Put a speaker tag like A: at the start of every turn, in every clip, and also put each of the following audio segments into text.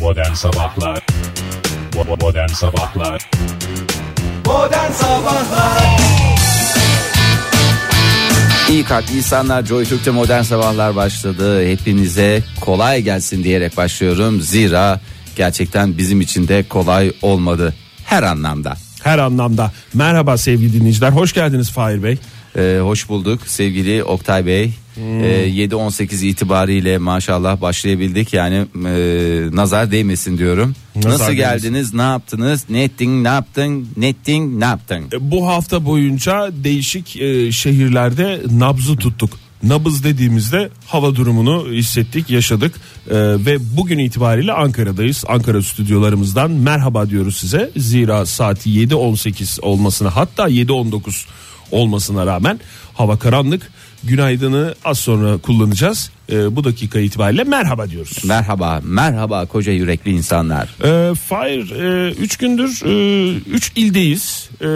A: Modern Sabahlar Bo- Modern Sabahlar
B: Modern Sabahlar
C: İyi kalp insanlar Joy Türk'te modern sabahlar başladı. Hepinize kolay gelsin diyerek başlıyorum. Zira gerçekten bizim için de kolay olmadı her anlamda.
D: Her anlamda. Merhaba sevgili dinleyiciler. Hoş geldiniz Fahir Bey.
C: Ee, hoş bulduk sevgili Oktay Bey.
D: Hmm.
C: Ee, 7-18 itibariyle maşallah başlayabildik yani e, nazar değmesin diyorum.
D: Nazar
C: Nasıl
D: değmesin.
C: geldiniz ne yaptınız ne ettin ne yaptın ne ettin ne yaptın.
D: E, Bu hafta boyunca değişik e, şehirlerde nabzı tuttuk. Nabız dediğimizde hava durumunu hissettik, yaşadık E, ve bugün itibariyle Ankara'dayız. Ankara stüdyolarımızdan merhaba diyoruz size. Zira saati 7.18 olmasına hatta 7.19 olmasına rağmen hava karanlık. Günaydın'ı az sonra kullanacağız. E, bu dakika itibariyle merhaba diyoruz.
C: Merhaba merhaba koca yürekli insanlar.
D: E, Fahir 3 gündür 3 ildeyiz. E,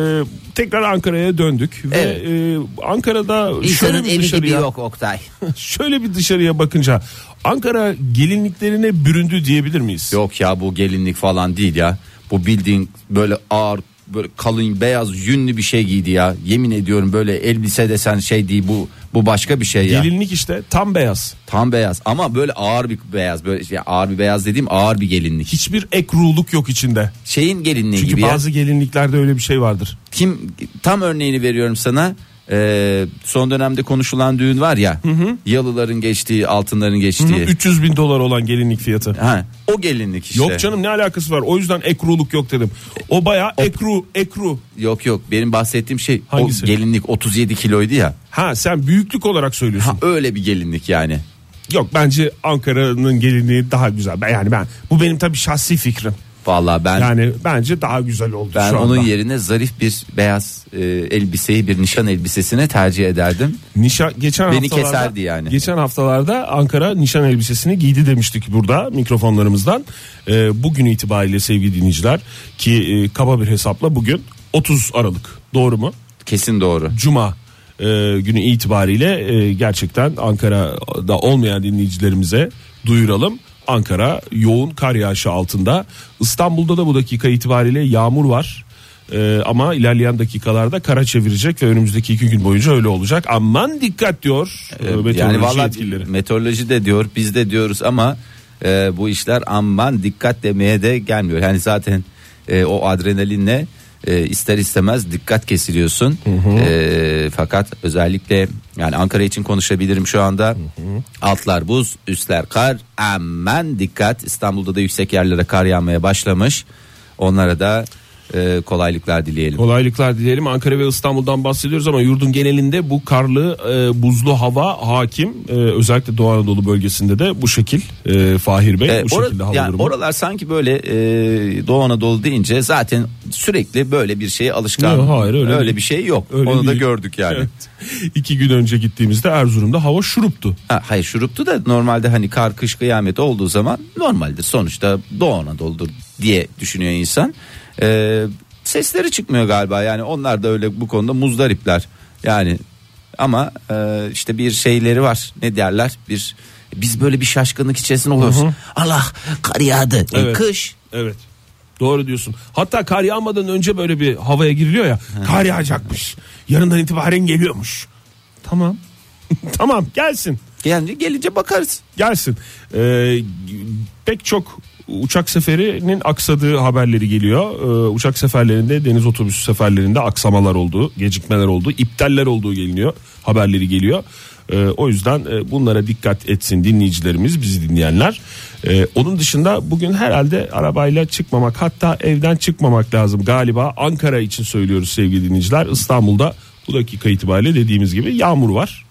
D: tekrar Ankara'ya döndük ve
C: Evet.
D: e, Ankara'da şöyle
C: İnsanın
D: bir
C: evi gibi
D: dışarıya
C: yok Oktay.
D: şöyle bir dışarıya bakınca Ankara gelinliklerine büründü diyebilir miyiz?
C: Yok ya bu gelinlik falan değil ya. Bu bildiğin böyle ağır böyle kalın beyaz yünlü bir şey giydi ya. Yemin ediyorum böyle elbise desen şey değil bu bu başka bir şey ya.
D: Gelinlik işte tam beyaz.
C: Tam beyaz ama böyle ağır bir beyaz böyle şey, ağır bir beyaz dediğim ağır bir gelinlik.
D: Hiçbir ekruluk yok içinde.
C: Şeyin gelinliği
D: Çünkü
C: gibi ya.
D: bazı gelinliklerde öyle bir şey vardır.
C: Kim tam örneğini veriyorum sana. Ee, son dönemde konuşulan düğün var ya. Yalıların geçtiği, altınların geçtiği.
D: 300 bin dolar olan gelinlik fiyatı.
C: Ha, o gelinlik işte.
D: Yok canım ne alakası var? O yüzden ekruluk yok dedim. O bayağı ekru ekru.
C: Yok yok. Benim bahsettiğim şey
D: Hangisi?
C: o gelinlik 37 kiloydu ya.
D: Ha sen büyüklük olarak söylüyorsun.
C: Ha, öyle bir gelinlik yani.
D: Yok bence Ankara'nın gelinliği daha güzel. Ben, yani ben bu benim tabii şahsi fikrim.
C: Vallahi ben
D: Yani bence daha güzel oldu
C: Hani- ben
D: şu anda.
C: onun yerine zarif bir beyaz e, elbiseyi bir nişan elbisesine tercih ederdim.
D: Nişan geçen
C: Beni
D: haftalarda
C: keserdi yani.
D: Geçen haftalarda Ankara nişan elbisesini giydi demiştik burada mikrofonlarımızdan. Ee, bugün itibariyle sevgili dinleyiciler ki e, kaba bir hesapla bugün 30 Aralık doğru mu?
C: Kesin doğru.
D: Cuma e, günü itibariyle e, gerçekten Ankara'da olmayan dinleyicilerimize duyuralım. Ankara yoğun kar yağışı altında. İstanbul'da da bu dakika itibariyle yağmur var. E, ama ilerleyen dakikalarda kara çevirecek ve önümüzdeki iki gün boyunca öyle olacak. Aman dikkat diyor e, meteoroloji
C: Ee, yani vallahi
D: yetkilileri.
C: meteoroloji de diyor biz de diyoruz ama e, bu işler aman dikkat demeye de gelmiyor. Yani zaten e, o adrenalinle e, ister istemez dikkat kesiliyorsun. E, fakat özellikle yani Ankara için konuşabilirim şu anda. Altlar buz, üstler kar. Aman dikkat. İstanbul'da da yüksek yerlere kar yağmaya başlamış. Onlara da e, kolaylıklar dileyelim.
D: Kolaylıklar dileyelim. Ankara ve İstanbul'dan bahsediyoruz ama yurdun genelinde bu karlı, e, buzlu hava hakim. E, özellikle Doğu Anadolu bölgesinde de bu şekil e, Fahir Bey
C: Ee,
D: bu
C: ora-
D: şekilde hava
C: yani
D: durumu.
C: oralar sanki böyle e, Doğu Anadolu deyince zaten sürekli böyle bir şeye alışkan.
D: Yok, hayır, öyle değil.
C: bir şey yok.
D: Öyle
C: Onu da
D: değil.
C: gördük yani.
D: Evet. İki gün önce gittiğimizde Erzurum'da hava şuruptu.
C: Ha, hayır şuruptu da normalde hani kar kış kıyamet olduğu zaman normaldir. Sonuçta Doğu Anadolu'dur diye düşünüyor insan. Ee, sesleri çıkmıyor galiba yani onlar da öyle bu konuda muzdaripler. Yani ama e, işte bir şeyleri var ne derler bir biz böyle bir şaşkınlık içerisinde oluyoruz. Allah kar yağdı E,
D: Evet.
C: kış
D: Evet. Doğru diyorsun. Hatta kar yağmadan önce böyle bir havaya giriliyor ya. Kar yağacakmış. Yarından itibaren geliyormuş. Tamam. tamam gelsin.
C: yani gelince bakarız.
D: gelsin. Ee, pek çok uçak seferinin aksadığı haberleri geliyor. Ee, uçak seferlerinde deniz otobüsü seferlerinde aksamalar olduğu, gecikmeler olduğu, iptaller olduğu geliniyor. Haberleri geliyor. Ee, o yüzden e, bunlara dikkat etsin dinleyicilerimiz, bizi dinleyenler. Ee, onun dışında bugün herhalde arabayla çıkmamak hatta evden çıkmamak lazım galiba. Ankara için söylüyoruz sevgili dinleyiciler. İstanbul'da bu dakika itibariyle dediğimiz gibi yağmur var.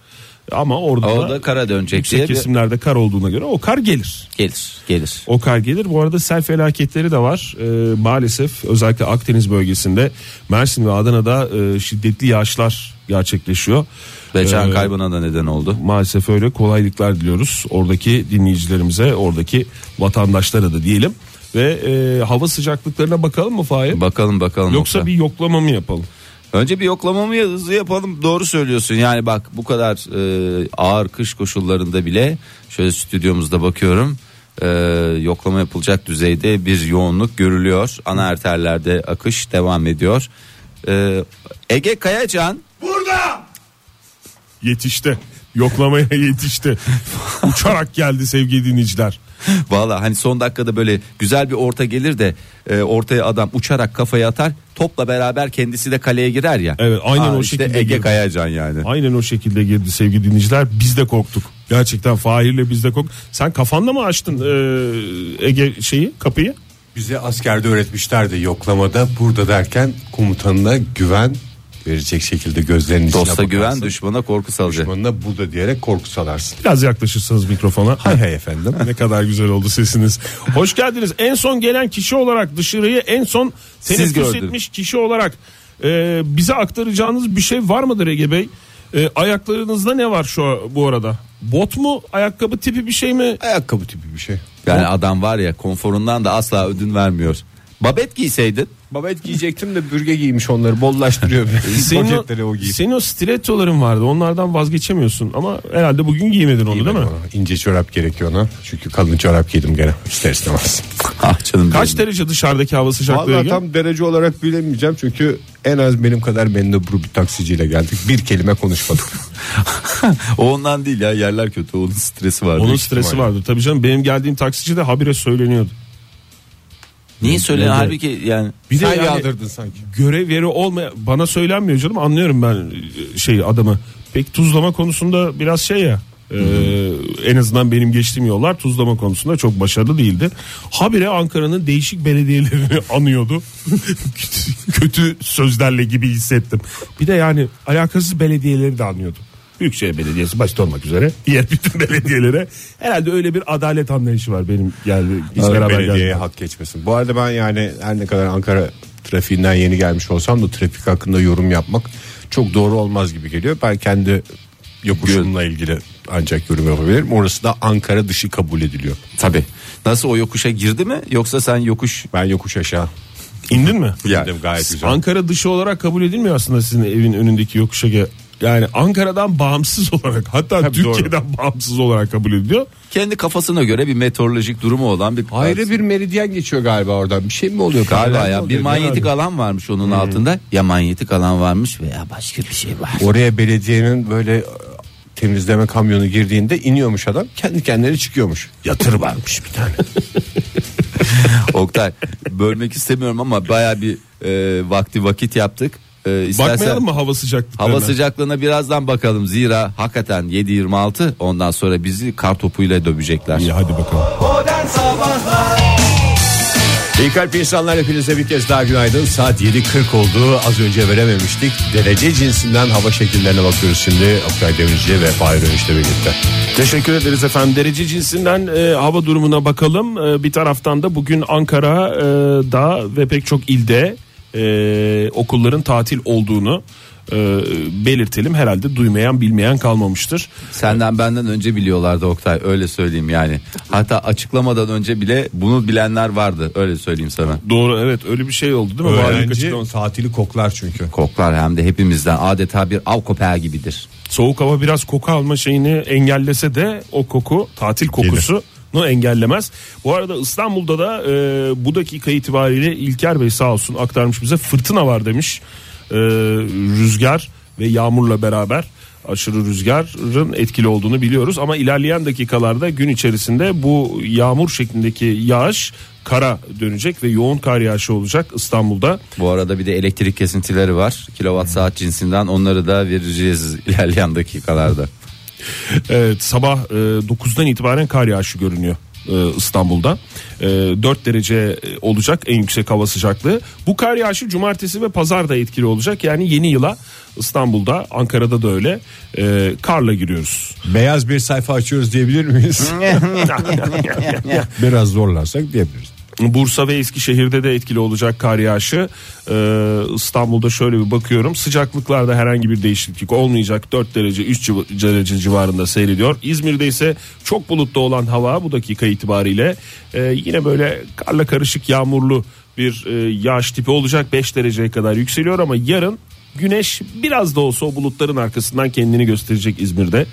D: Ama orada,
C: O da kara dönecek diye
D: Yüksek
C: bir-
D: kesimlerde kar olduğuna göre o kar gelir.
C: Gelir gelir.
D: O kar gelir. Bu arada sel felaketleri de var. Ee, maalesef özellikle Akdeniz bölgesinde Mersin ve Adana'da e, şiddetli yağışlar gerçekleşiyor.
C: Ve can
D: Ee,
C: kaybına da neden oldu.
D: Maalesef öyle kolaylıklar diliyoruz oradaki dinleyicilerimize, oradaki vatandaşlara da diyelim. Ve e, hava sıcaklıklarına bakalım mı Fahir?
C: Bakalım bakalım.
D: Yoksa bir yoklama mı yapalım?
C: Önce bir yoklama mı hızlı yapalım? Doğru söylüyorsun. Yani bak bu kadar e, ağır kış koşullarında bile şöyle stüdyomuzda bakıyorum. e, yoklama yapılacak düzeyde bir yoğunluk görülüyor. Ana arterlerde akış devam ediyor. E, Ege Kayacan
D: Yetişti. Yoklamaya yetişti. Uçarak geldi sevgili dinleyiciler.
C: Valla hani son dakikada böyle güzel bir orta gelir de e, ortaya adam uçarak kafaya atar topla beraber kendisi de kaleye girer ya.
D: Evet, aynen o
C: işte
D: şekilde
C: Ege
D: girdi.
C: Kayacan yani.
D: Aynen o şekilde girdi sevgili dinleyiciler. Biz de korktuk. Gerçekten Fahir'le biz de korktuk. Sen kafanla mı açtın e, Ege şeyi kapıyı?
E: Bize askerde öğretmişlerdi yoklamada burada derken komutanına güven verecek şekilde gözlerinin içine
C: Dosta güven
E: bakarsın.
C: düşmana korku salacak.
E: Düşmanına burada diyerek korku salarsın.
D: Biraz yaklaşırsanız mikrofona.
E: Hay hay efendim.
D: ne kadar güzel oldu sesiniz. Hoş geldiniz. En son gelen kişi olarak dışarıyı en son
C: Siz
D: teneffüs
C: gördünüz.
D: etmiş kişi olarak e, bize aktaracağınız bir şey var mıdır Ege Bey? E, ayaklarınızda ne var şu a- bu arada? Bot mu? Ayakkabı tipi bir şey mi?
E: Ayakkabı tipi bir şey.
C: Yani adam var ya konforundan da asla ödün vermiyor. Babet giyseydin
E: Babet giyecektim de bürge giymiş onları bollaştırıyor.
D: E, Senin
E: Poşetleri
D: o,
E: o giyip.
D: senin o stilettoların vardı. Onlardan vazgeçemiyorsun ama herhalde bugün giymedin onu değil mi?
E: Ona İnce çorap gerekiyor ona. Çünkü kalın çorap giydim gene. İster istemez.
C: ah canım
D: Kaç
C: benim.
D: derece dışarıdaki hava sıcaklığı?
E: Vallahi
D: Ege?
E: tam derece olarak bilemeyeceğim çünkü en az benim kadar mendebur bir taksiciyle geldik. Bir kelime konuşmadık.
C: O ondan değil ya yerler kötü onun stresi var.
D: Onun stresi vardı. Tabii canım benim geldiğim taksici de habire söyleniyordu.
C: Niye söylüyorsun halbuki yani
D: Bir de
E: Sen
D: yani-
E: yağdırdın sanki.
D: görev yeri olmaya bana söylenmiyor canım anlıyorum ben e, şey adamı. Pek tuzlama konusunda biraz şey ya. e, en azından benim geçtiğim yollar tuzlama konusunda çok başarılı değildi. Habire Ankara'nın değişik belediyelerini anıyordu. Kötü- Kötü sözlerle gibi hissettim. Bir de yani alakasız belediyeleri de anıyordu. Büyükşehir Belediyesi başta olmak üzere diğer bütün belediyelere herhalde öyle bir adalet anlayışı var benim geldi hiç beraber
E: belediyeye
D: geldi.
E: hak geçmesin. Bu arada ben yani her ne kadar Ankara trafiğinden yeni gelmiş olsam da trafik hakkında yorum yapmak çok doğru olmaz gibi geliyor. Ben kendi yokuşumla ilgili ancak yorum yapabilirim. Orası da Ankara dışı kabul ediliyor.
C: tabi nasıl o yokuşa girdi mi yoksa sen yokuş
E: Ben yokuş aşağı
D: İndin mi?
E: indim gayet güzel.
D: Ankara dışı olarak kabul edilmiyor aslında sizin evin önündeki yokuşa gel- Yani Ankara'dan bağımsız olarak hatta Türkiye'den bağımsız olarak kabul ediliyor.
C: kendi kafasına göre bir meteorolojik durumu olan bir
E: Ayrı bir meridyen geçiyor galiba oradan. Bir şey mi oluyor?
C: Galiba
E: Nereden
C: ya bir
E: oluyor?
C: manyetik alan varmış onun altında. Ya manyetik alan varmış veya başka bir şey var.
E: Oraya belediyenin böyle e, temizleme kamyonu girdiğinde iniyormuş adam kendi kendine çıkıyormuş. Yatır varmış bir tane.
C: Oktay bölmek istemiyorum ama baya bir e, vakti vakit yaptık. E, istersen
D: Bakmayalım mı hava sıcaklıklarına?
C: Hava sıcaklığına birazdan bakalım. Zira hakikaten 7.26 ondan sonra bizi kar topuyla dövecekler.
D: İyi, hadi bakalım.
B: Modern Sabahlar
E: İyi kalp insanlar hepinize bir kez daha günaydın. Saat 7.40 oldu. Az önce verememiştik. Derece cinsinden hava şekillerine bakıyoruz şimdi. Oktay Demirci ve Fahir Önüş'le birlikte.
D: Teşekkür ederiz efendim. Derece cinsinden e, hava durumuna bakalım. E, bir taraftan da bugün Ankara'da ve pek çok ilde e, okulların tatil olduğunu e, belirtelim. Herhalde duymayan bilmeyen kalmamıştır.
C: Senden benden önce biliyorlardı Oktay öyle söyleyeyim yani. Hatta açıklamadan önce bile bunu bilenler vardı öyle söyleyeyim sana.
D: Doğru evet öyle bir şey oldu değil mi? Valilik açıklaması.
E: tatili koklar çünkü.
C: Koklar hem de hepimizden adeta bir av köpeği gibidir.
D: soğuk hava biraz koku alma şeyini engellese de o koku tatil kokusunu engellemez. Bu arada İstanbul'da da e, bu dakika itibariyle İlker Bey sağ olsun aktarmış bize fırtına var demiş. E, rüzgar ve yağmurla beraber aşırı rüzgarın etkili olduğunu biliyoruz ama ilerleyen dakikalarda gün içerisinde bu yağmur şeklindeki yağış kara dönecek ve yoğun kar yağışı olacak İstanbul'da.
C: Bu arada bir de elektrik kesintileri var. Kilowatt saat cinsinden onları da vereceğiz ilerleyen dakikalarda.
D: Evet sabah e, 9'dan itibaren kar yağışı görünüyor e, İstanbul'da. E, 4 derece e, olacak en yüksek hava sıcaklığı. Bu kar yağışı cumartesi ve pazar da etkili olacak. Yani yeni yıla İstanbul'da, Ankara'da da öyle e, karla giriyoruz.
E: Beyaz bir sayfa açıyoruz diyebilir miyiz? Biraz zorlarsak diyebiliriz.
D: Bursa ve Eskişehir'de de etkili olacak kar yağışı. Ee, İstanbul'da şöyle bir bakıyorum. Sıcaklıklarda herhangi bir değişiklik olmayacak. 4 derece 3 civa- derece civarında seyrediyor. İzmir'de ise çok bulutlu olan hava bu dakika itibariyle e, yine böyle karla karışık yağmurlu bir e, yağış tipi olacak. 5 dereceye kadar yükseliyor ama yarın Güneş biraz da olsa o bulutların arkasından kendini gösterecek İzmir'de.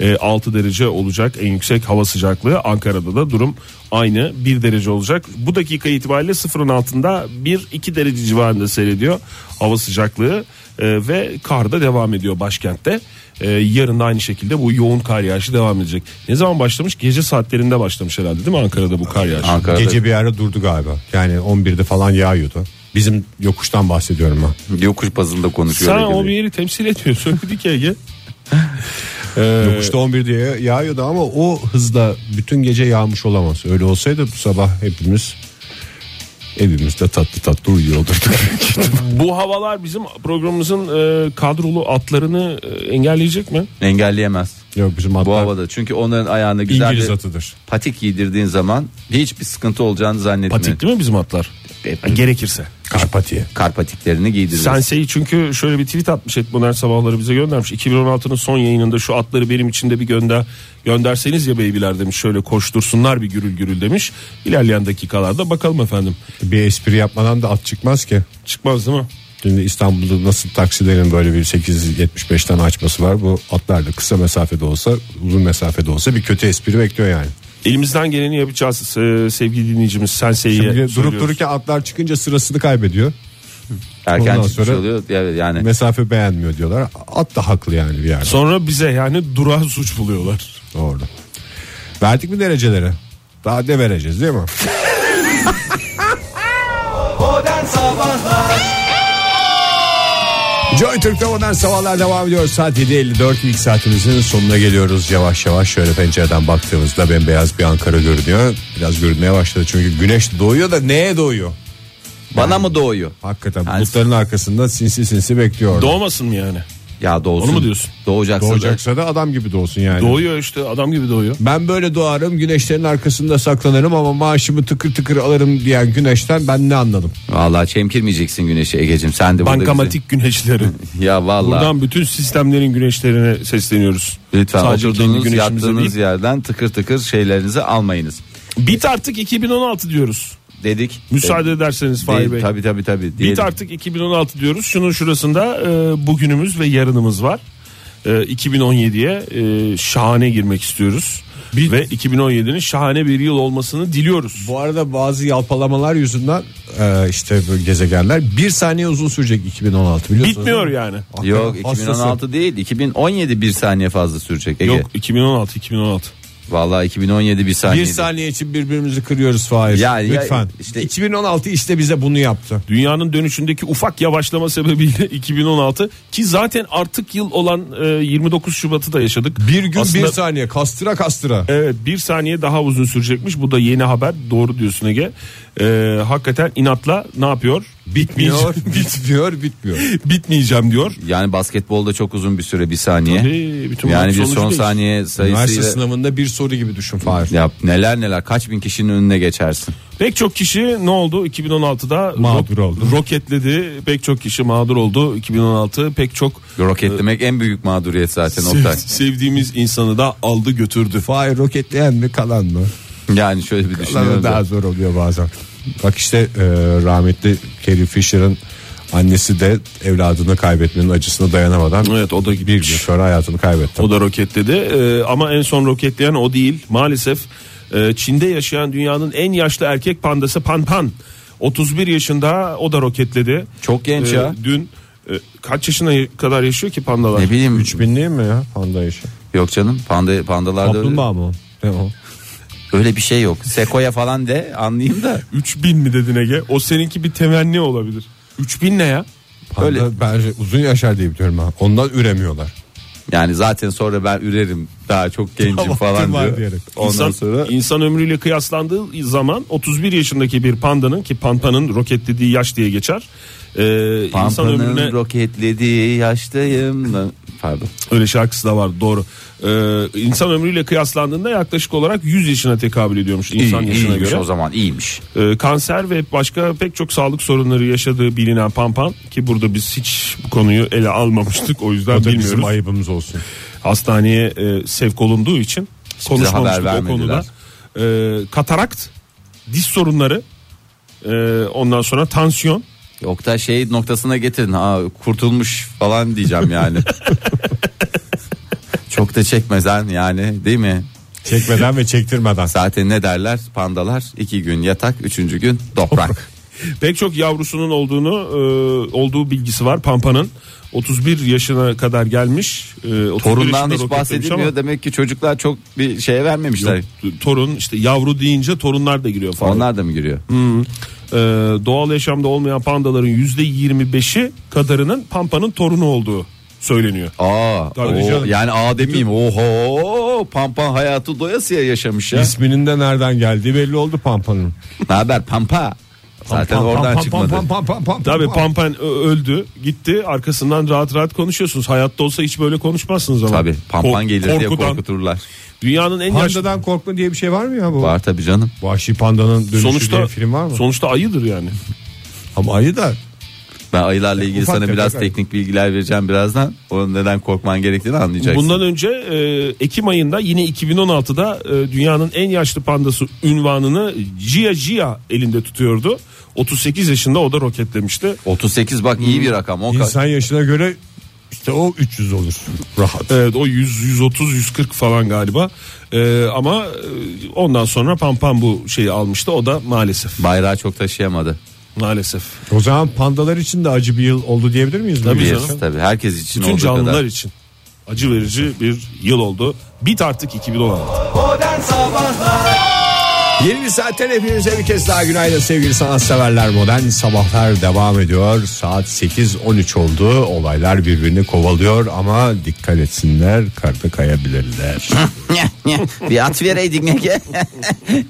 D: Ee, 6 derece olacak en yüksek hava sıcaklığı. Ankara'da da durum aynı 1 derece olacak. Bu dakika itibariyle sıfırın altında 1-2 derece civarında seyrediyor hava sıcaklığı. Ee, ve kar da devam ediyor başkentte. Ee, yarın da aynı şekilde bu yoğun kar yağışı devam edecek. Ne zaman başlamış? Gece saatlerinde başlamış herhalde değil mi Ankara'da bu kar yağışı?
C: Ankara'da
E: Gece bir ara durdu galiba. Yani 11'de falan yağıyordu. Bizim yokuştan bahsediyorum ben.
C: yokuş bazında konuşuyor.
D: Sen
C: Ege
D: o
C: Bey.
D: bir yeri temsil etmiyorsun. Söyledik ya Ege.
E: Yokuşta 11'de ya- yağıyordu ama o hızla bütün gece yağmış olamaz. Öyle olsaydı bu sabah hepimiz evimizde tatlı tatlı uyuyor olurduk.
D: Bu havalar bizim programımızın e, kadrolu atlarını e, engelleyecek mi?
C: Engelleyemez.
E: Yok bizim
C: Bu
E: atlar
C: havada çünkü onların ayağına güzel
E: İngiliz
C: bir
E: atıdır.
C: patik giydirdiğin zaman hiçbir sıkıntı olacağını zannetmiyorum.
D: Patik değil mi bizim atlar?
C: Evet.
D: Ha, gerekirse.
E: Karpatiye.
C: Kar patiklerini giydiririz.
D: Sense'yi çünkü şöyle bir tweet atmış Etmoner sabahları bize göndermiş. 2016'nın son yayınında şu atları benim için de bir gönder gönderseniz ya beybiler demiş. Şöyle koştursunlar bir gürül gürül demiş. İlerleyen dakikalarda bakalım efendim.
E: Bir espri yapmadan da at çıkmaz ki.
D: Çıkmaz değil mi?
E: Şimdi İstanbul'da nasıl taksilerin böyle bir 875'ten açması var. Bu atlar da kısa mesafede olsa uzun mesafede olsa bir kötü espri bekliyor yani.
D: Elimizden geleni yapacağız e, sevgili dinleyicimiz Sense'yi.
E: Şimdi durup
D: söylüyoruz.
E: dururken atlar çıkınca sırasını kaybediyor.
C: Erken
E: Ondan
C: çıkmış
E: sonra-
C: oluyor. Evet, yani
E: Mesafe beğenmiyor diyorlar. At da haklı yani bir yerde.
D: Sonra bize yani durağı suç buluyorlar.
E: Doğru. Verdik mi dereceleri? Daha ne vereceğiz değil mi?
B: Modern Sabahlar
E: Joy Türk'te modern sabahlar devam ediyor. Saat 7.54 ilk saatimizin sonuna geliyoruz. Yavaş yavaş şöyle pencereden baktığımızda bembeyaz bir Ankara görünüyor. Biraz görünmeye başladı çünkü güneş doğuyor da neye doğuyor?
C: bana mı doğuyor?
E: Hakikaten
C: Yani-
E: bulutların arkasında sinsi sinsi bekliyor.
D: Doğmasın mı yani?
C: Ya doğsun.
D: Onu mu diyorsun?
C: Doğacaksa da-
E: Doğacaksa da adam gibi doğsun yani.
D: Doğuyor işte adam gibi doğuyor.
E: ben böyle doğarım güneşlerin arkasında saklanırım ama maaşımı tıkır tıkır alırım diyen güneşten ben ne anladım?
C: Vallahi çemkirmeyeceksin güneşe Egecim. Sen de burada
D: Bankamatik güneşleri.
C: bizi- Ya vallahi.
D: Buradan bütün sistemlerin güneşlerine sesleniyoruz.
C: Lütfen
D: Sadece kendi
C: oturduğunuz
D: güneşimize
C: yattığınız
D: değil.
C: yerden tıkır tıkır şeylerinizi almayınız.
D: Bit artık 2016 diyoruz.
C: Dedik. E,
D: Müsaade ederseniz Fahir Bey.
C: Tabi tabi tabi.
D: Bit artık 2016 diyoruz. Şunun şurasında e, bugünümüz ve yarınımız var. E, 2017'ye e, şahane girmek istiyoruz. Ve 2017'nin şahane bir yıl olmasını diliyoruz.
E: Bu arada bazı yalpalamalar yüzünden e, işte böyle gezegenler bir saniye uzun sürecek 2016 biliyorsunuz.
D: Bitmiyor
E: değil mi? Ah
D: yani.
E: Hakikaten
C: Yok 2016
E: hastası.
C: değil 2017 bir saniye fazla sürecek Ege.
D: Yok 2016 2016.
C: Vallahi 2017 bir saniye.
E: Bir saniye için birbirimizi kırıyoruz Fahir.
C: Ya- ya
E: Lütfen.
C: işte-
E: 2016 işte bize bunu yaptı.
D: Dünyanın dönüşündeki ufak yavaşlama sebebiyle 2016 ki zaten artık yıl olan e, 29 Şubat'ı da yaşadık.
E: Bir gün
D: Aslında-
E: bir saniye kastıra kastıra.
D: Evet bir saniye daha uzun sürecekmiş. Bu da yeni haber. Doğru diyorsun Ege. E, hakikaten inatla ne yapıyor?
E: Bitmiyor,
D: Bitmeyeceğim,
E: bitmiyor, bitmiyor.
D: bitmeyeceğim diyor.
C: Yani basketbolda çok uzun bir süre bir saniye.
D: Tabii, bütün
C: yani
D: maç
C: bir
D: sonucu
C: son
D: değil.
C: saniye
E: Üniversite
C: sayısıyla
E: sınavında bir soru gibi düşün Fahir.
C: ya neler neler kaç bin kişinin önüne geçersin.
D: Pek çok kişi ne oldu? 2016'da
E: Mağdur oldu.
D: Roketledi. Pek çok kişi mağdur oldu. 2016 pek çok
E: Ee,
C: Roketlemek en büyük mağduriyet zaten
D: sev-
C: Oktay.
D: sevdiğimiz insanı da aldı götürdü.
E: Fahir roketleyen mi kalan mı?
C: Yani şöyle bir
E: Kalanı
C: düşünüyorum.
E: daha
C: da.
E: zor oluyor bazen. Bak işte e, rahmetli Carrie Fisher'ın annesi de evladını kaybetmenin acısına dayanamadan
D: Evet o da
E: bir gün sonra hayatını kaybetti.
D: O da roketledi Ee, ama en son roketleyen o değil. Maalesef e, Çin'de yaşayan dünyanın en yaşlı erkek pandası Pan Pan. 31 yaşında o da roketledi.
C: Çok genç
D: Ee,
C: ya.
D: Dün e, kaç yaşına kadar yaşıyor ki pandalar?
C: Ne bileyim
E: 3000 değil mi ya panda işi?
C: yok canım panda, pandalarda öyle,
E: Kaplumbağa mı? o? Ne o?
C: öyle bir şey yok. Sekoya falan de anlayayım da
D: 3000 mi dedin Ege? O seninki bir temenni olabilir. 3000 ne ya?
E: Panda
C: Öyle.
E: bence uzun yaşar diye biliyorum ha. Ondan üremiyorlar.
C: yani zaten sonra ben ürerim daha çok gencim
E: Vaktim
C: falan
E: var
C: diyor.
E: diyerek.
C: Ondan
D: İnsan,
C: sonra
D: insan ömrüyle kıyaslandığı zaman 31 yaşındaki bir pandanın ki pandanın roketlediği yaş diye geçer. Ee, insan
C: Pampanın
D: ömrüne
C: roketlediği yaştayım. da- Pardon.
D: Öyle şarkısı da var doğru. Ee, insan ömrüyle kıyaslandığında yaklaşık olarak 100 yaşına tekabül ediyormuş insan
C: İyi-
D: yaşına
C: iyiymiş
D: göre.
C: o zaman iyiymiş.
D: Ee, kanser ve başka pek çok sağlık sorunları yaşadığı bilinen Pampan ki burada biz hiç bu konuyu ele almamıştık o yüzden
E: O da
D: bilmiyoruz.
E: bizim ayıbımız olsun.
D: Hastaneye e, sevk olunduğu için konuşmamıştık
C: haber
D: o konuda. Ee, katarakt, diz sorunları, e, ondan sonra tansiyon
C: Oktay şey noktasına getirin. Ha, kurtulmuş falan diyeceğim yani. Çok da çekmezden yani değil mi?
E: Çekmeden ve çektirmeden.
C: Zaten ne derler pandalar iki gün yatak üçüncü gün toprak.
D: Pek çok yavrusunun olduğunu e, olduğu bilgisi var Pampa'nın. 31 yaşına kadar gelmiş. E, 31
C: Torundan hiç
D: yaşında roket demiş ama-
C: bahsedilmiyor demek ki çocuklar çok bir şeye vermemişler.
D: Yok, t- torun işte yavru deyince torunlar da giriyor falan.
C: Onlar da mı giriyor?
D: Ee, doğal yaşamda olmayan pandaların yüzde 25'i kadarının Pampa'nın torunu olduğu söyleniyor.
C: Aa,
D: Tabii
C: o-
D: canım.
C: yani a demeyeyim. Oho, Pampa hayatı doyasıya yaşamış ya.
E: İsminin de nereden geldiği belli oldu Pampa'nın.
C: Ne haber Pampa? Zaten
E: Pam, pam,
C: oradan
E: pam,
C: çıkmadı.
E: Pam, pam, pam, pam,
D: Tabii
E: pam.
D: Pampan ö- öldü gitti arkasından rahat rahat konuşuyorsunuz. Hayatta olsa hiç böyle konuşmazsınız ama.
C: Tabii Pampan
D: Kork-
C: gelir diye
D: korkudan.
C: korkuturlar.
D: Dünyanın en yaşlı
E: Pandadan korkma diye bir şey var mı ya bu?
C: Var tabii canım.
E: Vahşi Panda'nın dönüşü diye
D: sonuçta
E: film var mı?
D: Sonuçta ayıdır yani.
E: Ama ayı da
C: Ben ayılarla ilgili
E: Ufak
C: sana
E: tefek
C: biraz
E: ayı.
C: teknik bilgiler vereceğim birazdan. Onun neden korkman gerektiğini anlayacaksın.
D: Bundan önce e, Ekim ayında yine 2016'da e, dünyanın en yaşlı pandası ünvanını Gia Gia elinde tutuyordu. 38 yaşında o da roketlemişti.
C: 38 bak iyi bir rakam. O ka-
E: insan yaşına göre işte o 300 olur. Rahat.
D: Evet o 100 130 140 falan galiba. Ee, ama e, ondan sonra Pampam bu şeyi almıştı. O da maalesef.
C: Bayrağı çok taşıyamadı.
D: Maalesef.
E: O zaman pandalar için de acı bir yıl oldu diyebilir miyiz?
D: Tabii
E: Bilmiyorum.
C: Biliriz
D: canım.
C: tabii. Herkes için
D: Bütün
C: olduğu
D: canlılar
C: kadar.
D: için acı verici bir yıl oldu. Bit artık 2016.
B: Modern Sabahlar
E: Yeni bir saatten hepinize bir kez daha günaydın sevgili sanatseverler. Modern sabahlar devam ediyor. Saat 8.13 oldu. Olaylar birbirini kovalıyor ama dikkat etsinler karda kayabilirler.
C: bir at vereydik ne ki?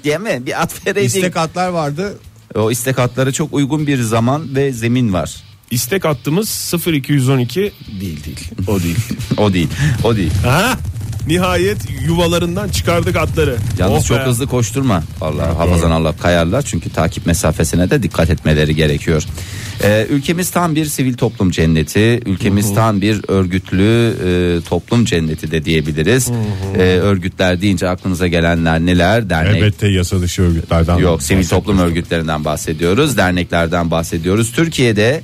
C: Değil mi? Bir at vereydik.
E: İstek atlar vardı.
C: O istek hatlara çok uygun bir zaman ve zemin var.
D: İstek hattımız 0212 değil değil. O değil.
C: O değil. O değil.
D: ha? Nihayet yuvalarından çıkardık atları.
C: Yalnız
D: Oh
C: çok
D: be.
C: hızlı koşturma. Vallahi hafazan Allah kayarlar çünkü takip mesafesine de dikkat etmeleri gerekiyor. Ee, ülkemiz tam bir sivil toplum cenneti. Ülkemiz tam bir örgütlü e, toplum cenneti de diyebiliriz. Ee, örgütler deyince aklınıza gelenler neler? Dernek,
E: Elbette yasa dışı örgütlerden.
C: Yok sivil toplum örgütlerinden bahsediyoruz derneklerden bahsediyoruz Türkiye'de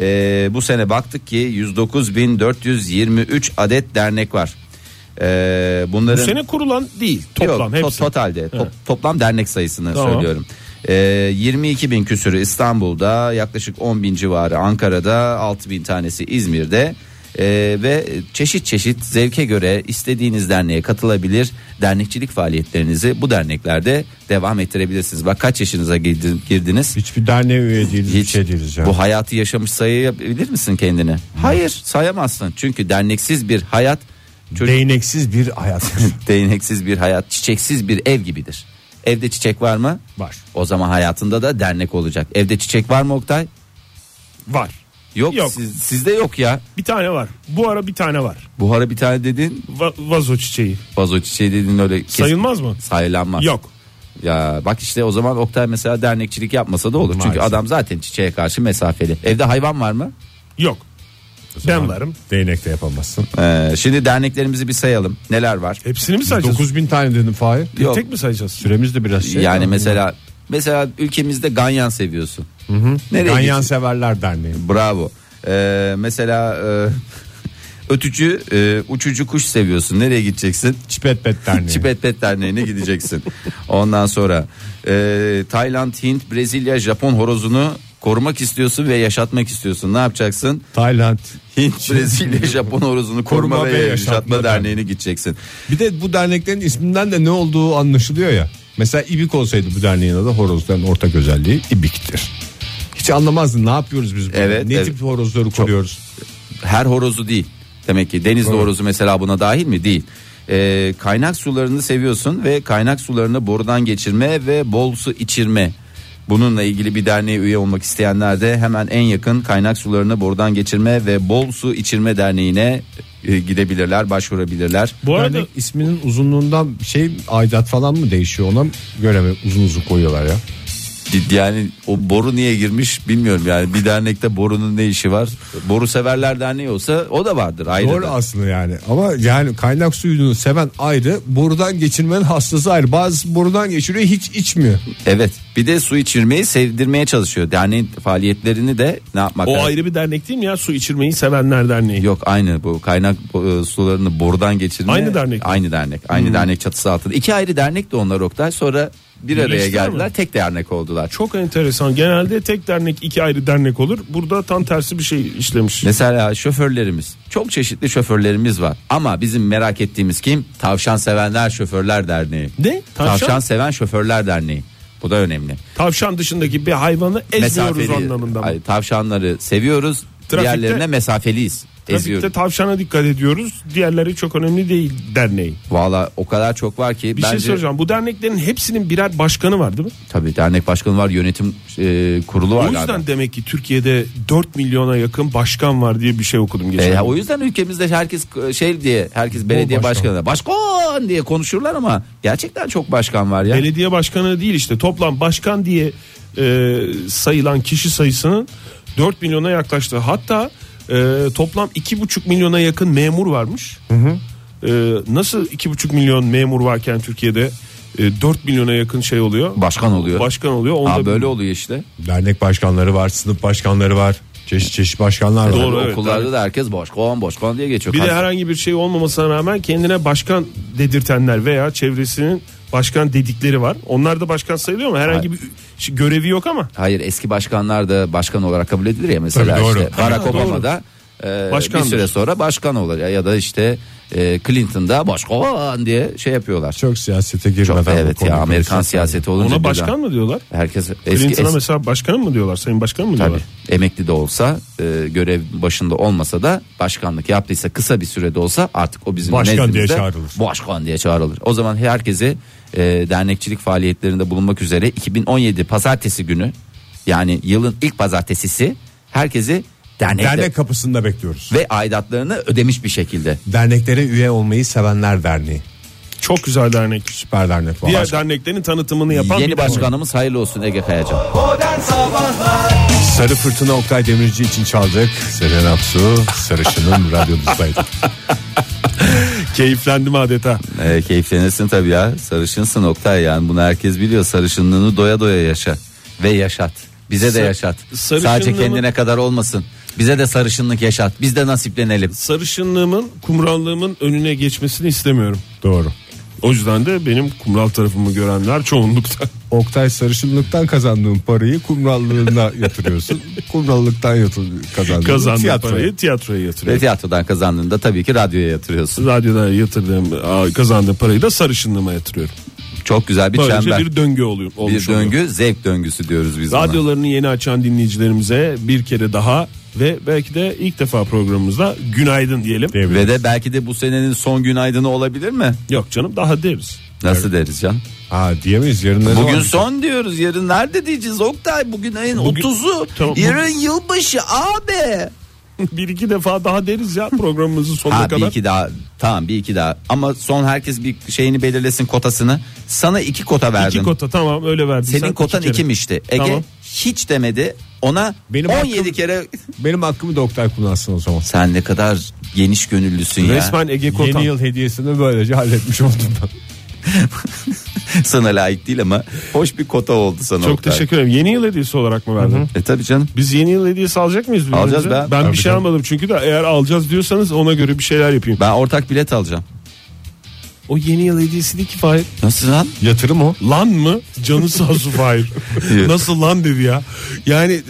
C: e, bu sene baktık ki 109.423 adet dernek var E,
D: Bu
C: bunların
D: sene kurulan değil.
C: Yok,
D: Toplam
C: to-
D: hepsi.
C: totalde to- toplam dernek sayısını
D: Tamam.
C: söylüyorum E, 22 bin küsürü İstanbul'da yaklaşık 10 bin civarı Ankara'da 6 bin tanesi İzmir'de E, ve çeşit çeşit zevke göre istediğiniz derneğe katılabilir dernekçilik faaliyetlerinizi bu derneklerde devam ettirebilirsiniz. Bak kaç yaşınıza girdin- girdiniz?
E: Hiçbir derneğe üye değiliz.
C: Hiç.
E: Hiç. Şey değiliz yani.
C: Bu hayatı yaşamış sayabilir misin kendini? Hayır sayamazsın. Çünkü derneksiz bir hayat çocuk
E: Değneksiz bir hayat.
C: değneksiz bir hayat, çiçeksiz bir ev gibidir. Evde çiçek var mı?
E: Var.
C: O zaman hayatında da dernek olacak. Evde çiçek var mı Oktay?
D: Var.
C: Yok,
D: Yok.
C: siz- sizde yok ya.
D: Bir tane var. Bu ara bir tane var.
C: Buhara bir tane dedin,
D: Va- vazo çiçeği.
C: vazo çiçeği dedin öyle kes-
D: Sayılmaz mı?
C: sayılanmaz.
D: Yok.
C: Ya bak işte o zaman Oktay mesela dernekçilik yapmasa da olur. Çünkü
E: Maalesef.
C: adam zaten çiçeğe karşı mesafeli. Evde hayvan var mı?
D: Yok. Ben varım.
E: Değnekte yapamazsın.
C: Ee, şimdi derneklerimizi bir sayalım. Neler var?
D: Hepsini mi sayacağız?
E: 9000 tane dedim Fahir.
D: Bir
C: Yok.
D: tek mi sayacağız?
E: Süremiz de biraz şey.
C: yani mesela mesela ülkemizde ganyan seviyorsun. Nereye
E: Ganyan
C: gitsin?
E: Severler Derneği.
C: Bravo. Ee, mesela e, ötücü, e, uçucu kuş seviyorsun. Nereye gideceksin?
E: Çipet Pet Derneği.
C: Çipet Pet Derneği'ne gideceksin. Ondan sonra e, Tayland, Hint, Brezilya, Japon horozunu korumak istiyorsun ve yaşatmak istiyorsun. Ne yapacaksın?
E: Tayland.
C: Hint, Brezilya, Japon horozunu koruma, ve, yaşatma, derneğine gideceksin.
E: Bir de bu derneklerin isminden de ne olduğu anlaşılıyor ya. Mesela İbik olsaydı bu derneğin adı horozların ortak özelliği İbik'tir. Hiç anlamazdın ne yapıyoruz biz burada?
C: Evet,
E: ne
C: evet.
E: tip horozları koruyoruz?
C: her horozu değil. Demek ki deniz horozu mesela buna dahil mi? Değil. Ee, kaynak sularını seviyorsun ve kaynak sularını borudan geçirme ve bol su içirme. Bununla ilgili bir derneğe üye olmak isteyenler de hemen en yakın kaynak sularını borudan geçirme ve bol su içirme derneğine e, gidebilirler, başvurabilirler.
D: Bu arada
E: Dernek isminin uzunluğundan şey aidat falan mı değişiyor ona göre mi uzun uzun koyuyorlar ya?
C: Ciddi Yani o boru niye girmiş bilmiyorum yani bir dernekte borunun ne işi var? Boru severler derneği olsa o da vardır ayrı.
E: Doğru
C: da.
E: aslında yani ama yani kaynak suyunu seven ayrı borudan geçirmenin hastası ayrı bazı borudan geçiriyor hiç içmiyor.
C: Evet bir de su içirmeyi sevdirmeye çalışıyor. Derneğin faaliyetlerini de ne yapmak
D: O
C: lazım?
D: ayrı bir dernek değil mi ya? Su içirmeyi sevenler derneği.
C: Yok aynı bu kaynak e, sularını borudan geçirme.
D: Aynı dernek mi? Hmm.
C: Aynı dernek. Aynı dernek çatısı altında. İki ayrı dernek de onlar Oktay. Sonra bir araya
D: Birleştiler
C: geldiler.
D: mi?
C: Tek dernek oldular.
D: Çok enteresan. Genelde tek dernek iki ayrı dernek olur. Burada tam tersi bir şey işlemiş.
C: Mesela şoförlerimiz. Çok çeşitli şoförlerimiz var. Ama bizim merak ettiğimiz kim? Tavşan sevenler şoförler derneği.
D: Ne?
C: Tavşan,
D: Tavşan?
C: seven şoförler derneği. Bu da önemli.
D: Tavşan dışındaki bir hayvanı ezmiyoruz
C: Mesafeli-
D: anlamında. mı?
C: Ay, tavşanları seviyoruz.
D: Trafikte-
C: diğerlerine mesafeliyiz. Eziyoruz.
D: Trafikte tavşana dikkat ediyoruz. Diğerleri çok önemli değil derneği.
C: Valla o kadar çok var ki
D: Bir şey
C: bence
D: soracağım. Bu derneklerin hepsinin birer başkanı var değil mi?
C: tabii dernek başkanı var, yönetim e, kurulu var
D: o yüzden
C: galiba.
D: demek ki Türkiye'de 4 milyona yakın başkan var diye bir şey okudum geçen.
C: E,
D: gün.
C: o yüzden ülkemizde herkes e, şey diye herkes belediye başkanı
D: başkan.
C: başkan diye konuşurlar ama gerçekten çok başkan var ya.
D: Belediye başkanı değil işte toplam başkan diye e, sayılan kişi sayısının 4 milyona yaklaştı. Hatta e, toplam 2,5 milyona yakın memur varmış. E, nasıl 2,5 milyon memur varken Türkiye'de e, 4 milyona yakın şey oluyor.
C: Başkan oluyor.
D: Başkan oluyor. Onda
C: Aa, böyle oluyor işte.
E: Dernek başkanları var sınıf başkanları var çeşit çeşit başkanlar var.
D: Doğru,
C: Yani
D: evet,
C: okullarda da herkes başkan başkan diye geçiyor.
D: Bir de
C: Kas-
D: herhangi bir şey olmamasına rağmen kendine başkan dedirtenler veya çevresinin başkan dedikleri var. Onlar da başkan sayılıyor mu? Herhangi bir şey- görevi yok ama.
C: Hayır eski başkanlar da başkan olarak kabul edilir ya mesela
E: Tabii, doğru.
C: işte Barack
D: Ha,
C: Obama da e, bir
D: Başkandır.
C: süre sonra başkan olur ya, ya da işte e, Clinton da başkan diye şey yapıyorlar.
E: Çok siyasete
C: Çok-
E: girmeden bu
C: evet
E: konu
C: ya Amerikan
E: konuşalım.
C: siyaseti olunca
D: Ona
C: birden
D: başkan mı diyorlar?
C: herkes eski,
D: Clinton'a
C: eski
D: mesela başkanım mı diyorlar? Sayın başkan mı
C: tabii,
D: diyorlar?
C: emekli de olsa e, görev başında olmasa da başkanlık yaptıysa kısa bir sürede olsa artık o bizim
E: Başkan diye
C: nezdimizde
E: çağrılır.
C: Başkan diye çağrılır. O zaman herkesi e, dernekçilik faaliyetlerinde bulunmak üzere 2017 pazartesi günü yani yılın ilk pazartesisi herkesi dernekte
E: Dernek kapısında bekliyoruz.
C: ve aidatlarını ödemiş bir şekilde.
E: Derneklere üye olmayı sevenler derneği.
D: Çok güzel dernek.
E: Süper dernek var.
D: Diğer derneklerin tanıtımını yapan
C: Yeni
D: bir dernek.
C: başkanımız hayırlı olsun Ege Kayacan.
B: Modern Sabahlar
E: Sarı Fırtına Oktay Demirci için çaldık. Seren Aksu Sarışın'ın radyonuzdaydı.
D: Keyiflendim adeta.
C: E, keyiflenirsin tabii ya. Sarışınsın Oktay yani bunu herkes biliyor. Sarışınlığını doya doya yaşa ve yaşat. Bize de
D: Sa-
C: yaşat.
D: sarışınlığımı-
C: Sadece kendine kadar olmasın. Bize de sarışınlık yaşat. Biz de nasiplenelim.
D: Sarışınlığımın, kumrallığımın önüne geçmesini istemiyorum.
E: Doğru.
D: O yüzden de benim kumral tarafımı görenler çoğunlukta.
E: Oktay sarışınlıktan kazandığın parayı kumrallığına yatırıyorsun. Kumrallıktan yatır- kazandığın
D: Kazandığım
E: tiyatroya.
D: parayı tiyatroya
C: Ve
D: yatırıyorum.
C: tiyatrodan kazandığında tabii ki radyoya yatırıyorsun.
D: Radyoda yatırdığım, aa, kazandığım parayı da sarışınlığıma yatırıyorum.
C: Çok güzel bir
D: Böylece
C: çember.
D: bir döngü oluyor.
C: Bir,
D: olmuş oluyor.
C: döngü zevk döngüsü diyoruz biz buna.
D: Radyolarını yeni açan dinleyicilerimize bir kere daha ve belki de ilk defa programımızda günaydın diyelim.
C: Ve de belki de bu senenin son günaydını olabilir mi?
D: Yok canım daha deriz.
C: Nasıl deriz can?
E: Ha diyemeyiz yarın ne
C: Bugün
E: zaman-
C: son diyoruz. Yarın nerede diyeceğiz Oktay? Bugün ayın
D: Bugün-
C: 30'u.
D: Tamam, bu-
C: Yarın yılbaşı abi.
D: bir iki defa daha deriz ya programımızın sonuna
C: Ha, bir
D: kadar.
C: iki daha tamam bir iki daha ama son herkes bir şeyini belirlesin kotasını sana iki kota verdim.
D: İki kota tamam öyle verdin.
C: Senin
D: Sen
C: kotan
D: iki kere.
C: ikimişti. Ege
D: Tamam.
C: hiç demedi ona
E: Benim
C: 17
E: hakkım-
C: kere
E: Benim hakkımı da Oktay kullansın o zaman.
C: sen ne kadar geniş gönüllüsün ya.
D: Resmen Ege kotan.
E: Yeni yıl hediyesini böylece halletmiş oldum ben.
C: Sana layık değil ama hoş bir kota oldu sana.
D: Çok
C: Oktay.
D: teşekkür ederim. Yeni yıl hediyesi olarak mı verdin?
C: E tabii canım.
D: Biz yeni yıl hediyesi alacak mıyız? birbirimize?
C: Alacağız be.
D: Ben
E: Tabii
D: bir şey
E: canım.
D: almadım çünkü de eğer alacağız diyorsanız ona göre bir şeyler yapayım.
C: Ben ortak bilet alacağım.
D: O yeni yıl hediyesi değil ki Fahir.
C: Nasıl lan?
E: Yatırım o.
D: Lan mı? Canı sağ olsun Fahir. Nasıl lan dedi ya. Yani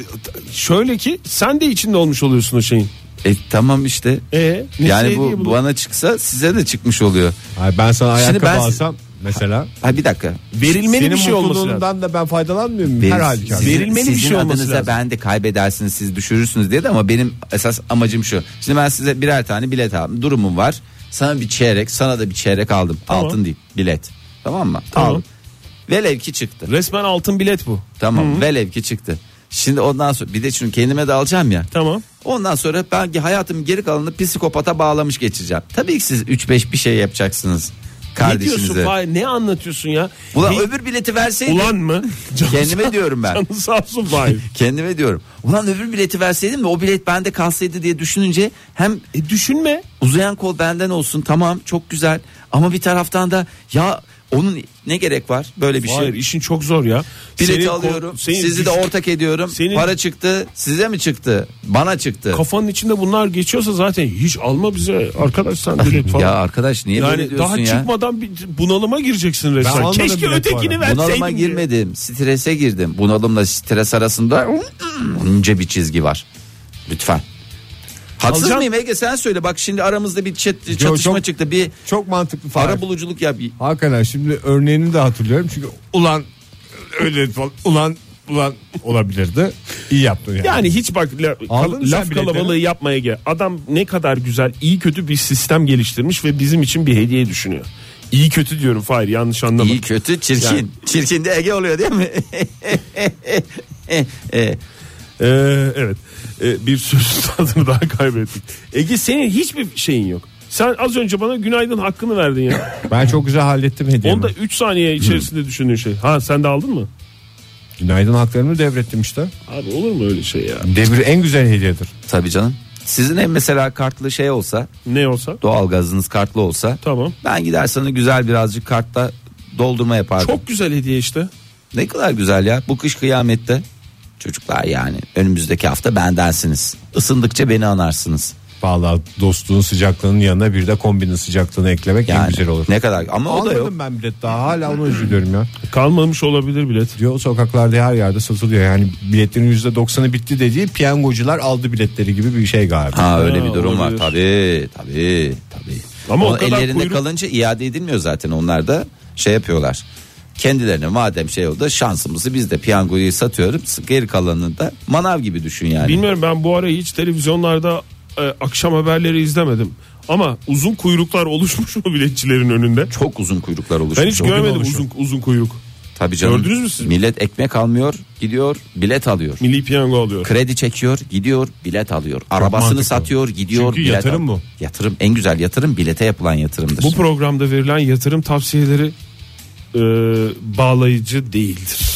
D: şöyle ki sen de içinde olmuş oluyorsun o şeyin.
C: E tamam işte.
D: E,
C: yani bu bana çıksa size de çıkmış oluyor.
E: Ay ben sana
C: Şimdi
E: ayakkabı
C: ben-
E: alsam mesela.
C: Ha bir dakika.
D: verilmeli bir
E: Senin
D: şey olması lazım.
E: mutluluğundan da ben faydalanmıyorum
C: Verin-
E: her halükarda.
C: sizin-
D: Verilmeli bir
C: sizin
D: şey olması
C: adınıza
D: lazım.
C: ben de kaybedersiniz siz düşürürsünüz diye de ama benim esas amacım şu. Şimdi ben size birer tane bilet aldım. Durumum var. Sana bir çeyrek sana da bir çeyrek aldım.
D: Tamam.
C: Altın değil bilet. Tamam mı?
D: Tamam.
C: Aldım. Velev ki çıktı.
D: Resmen altın bilet bu.
C: Tamam velev ki çıktı. Şimdi ondan sonra bir de şimdi kendime de alacağım ya.
D: Tamam.
C: Ondan sonra ben hayatımın geri kalanını psikopata bağlamış geçeceğim. Tabii ki siz 3-5 bir şey yapacaksınız.
D: Ne
C: kardeşinize.
D: diyorsun Fahir? Ne anlatıyorsun ya?
C: Ulan
D: Hey,
C: öbür bileti verseydin.
D: ulan mı? Canı
C: Kendime
D: sağ-
C: diyorum ben.
D: Canı sağ olsun Fahir.
C: Kendime diyorum. Ulan öbür bileti verseydim de o bilet bende kalsaydı diye düşününce hem
D: E, düşünme.
C: uzayan kol benden olsun tamam çok güzel ama bir taraftan da ya onun ne gerek var böyle bir
D: Fahir
C: şey.
D: işin çok zor ya.
C: Bileti
D: Senin ko-
C: alıyorum.
D: senin
C: sizi de
D: düş-
C: ortak ediyorum.
D: senin-
C: Para çıktı. Size mi çıktı? Bana çıktı.
D: Kafanın içinde bunlar geçiyorsa zaten hiç alma bize arkadaş sen bilet falan.
C: Ya arkadaş niye böyle
D: yani
C: diyorsun
D: daha
C: ya?
D: çıkmadan bir bunalıma gireceksin resmen.
E: almadım
D: Keşke
E: bilet
D: ötekini
E: bu
D: verseydin.
C: Bunalıma
D: diye.
C: girmedim. Strese girdim. Bunalımla stres arasında ince bir çizgi var. Lütfen. Haksız
D: Alcan-
C: mıyım Ege sen söyle. Bak şimdi aramızda bir çat- çatışma
E: çok-
C: çıktı. Bir
E: Çok mantıklı. Fahir.
C: ara buluculuk yap.
E: Hakikaten şimdi örneğini de hatırlıyorum çünkü ulan öyle falan ulan ulan olabilirdi. İyi yaptın yani.
D: Yani hiç bak la-
E: Aldın
D: kal-
E: mı sen
D: laf
E: biletleri?
D: kalabalığı yapmaya gel. Adam ne kadar güzel iyi kötü bir sistem geliştirmiş ve bizim için bir hediye düşünüyor. İyi kötü diyorum Fahir yanlış anlama.
C: İyi kötü çirkin.
D: Yani-
C: Çirkin de Ege oluyor değil mi? E,
D: Ee, evet Ee, bir söz tadını daha kaybettik. Ege senin hiçbir şeyin yok. Sen az önce bana günaydın hakkını verdin ya.
E: Ben çok güzel hallettim hediyemi.
D: Onda 3 saniye içerisinde düşündüğün şey. Ha sen de aldın mı?
E: Günaydın haklarını devrettim işte.
D: Abi olur mu öyle şey ya?
E: Devir en güzel hediyedir.
C: tabii canım. Sizin ev mesela kartlı şey olsa
D: Ne olsa?
C: doğalgazınız kartlı olsa
D: Tamam.
C: ben gider sana güzel birazcık kartla doldurma yapardım.
D: Çok güzel hediye işte.
C: Ne kadar güzel ya bu kış kıyamette. Çocuklar yani önümüzdeki hafta bendensiniz. Isındıkça beni anarsınız.
E: Vallahi dostluğun sıcaklığının yanına bir de kombinin sıcaklığını eklemek
C: Yani
E: en güzel olur.
C: Ne kadar ama o da yok.
E: Almadım ben bilet daha hala onu üzülüyorum ya.
D: Kalmamış olabilir bilet.
E: Diyor sokaklarda her yerde satılıyor. Yani biletlerin yüzde doksanı bitti dediği piyangocular aldı biletleri gibi bir şey galiba.
C: Ha öyle bir durum var
D: olabilir.
C: tabii tabii tabii.
D: Ama
C: Ama
D: o kadar
C: ellerinde
D: kuyruk-
C: kalınca iade edilmiyor zaten onlar da şey yapıyorlar. Kendilerine madem şey oldu şansımızı biz de piyangoyu satıyoruz geri kalanını da manav gibi düşün yani.
D: Bilmiyorum ben bu ara hiç televizyonlarda e, akşam haberleri izlemedim. Ama uzun kuyruklar oluşmuş mu biletçilerin önünde?
C: Çok uzun kuyruklar oluşmuş.
D: Ben hiç
C: O gün
D: görmedim
C: oluşuyor.
D: uzun uzun kuyruk.
C: Tabii canım.
D: Gördünüz mü siz?
C: Millet ekmek almıyor gidiyor bilet alıyor.
D: Milli piyango alıyor.
C: Kredi çekiyor, gidiyor, bilet alıyor. Arabasını
E: mantıklı.
C: satıyor, gidiyor,
E: Çünkü
C: bilet
E: yatırım
C: al-
E: bu.
C: Yatırım en güzel yatırım bilete yapılan yatırımdır.
D: Bu programda verilen yatırım tavsiyeleri e, bağlayıcı değildir.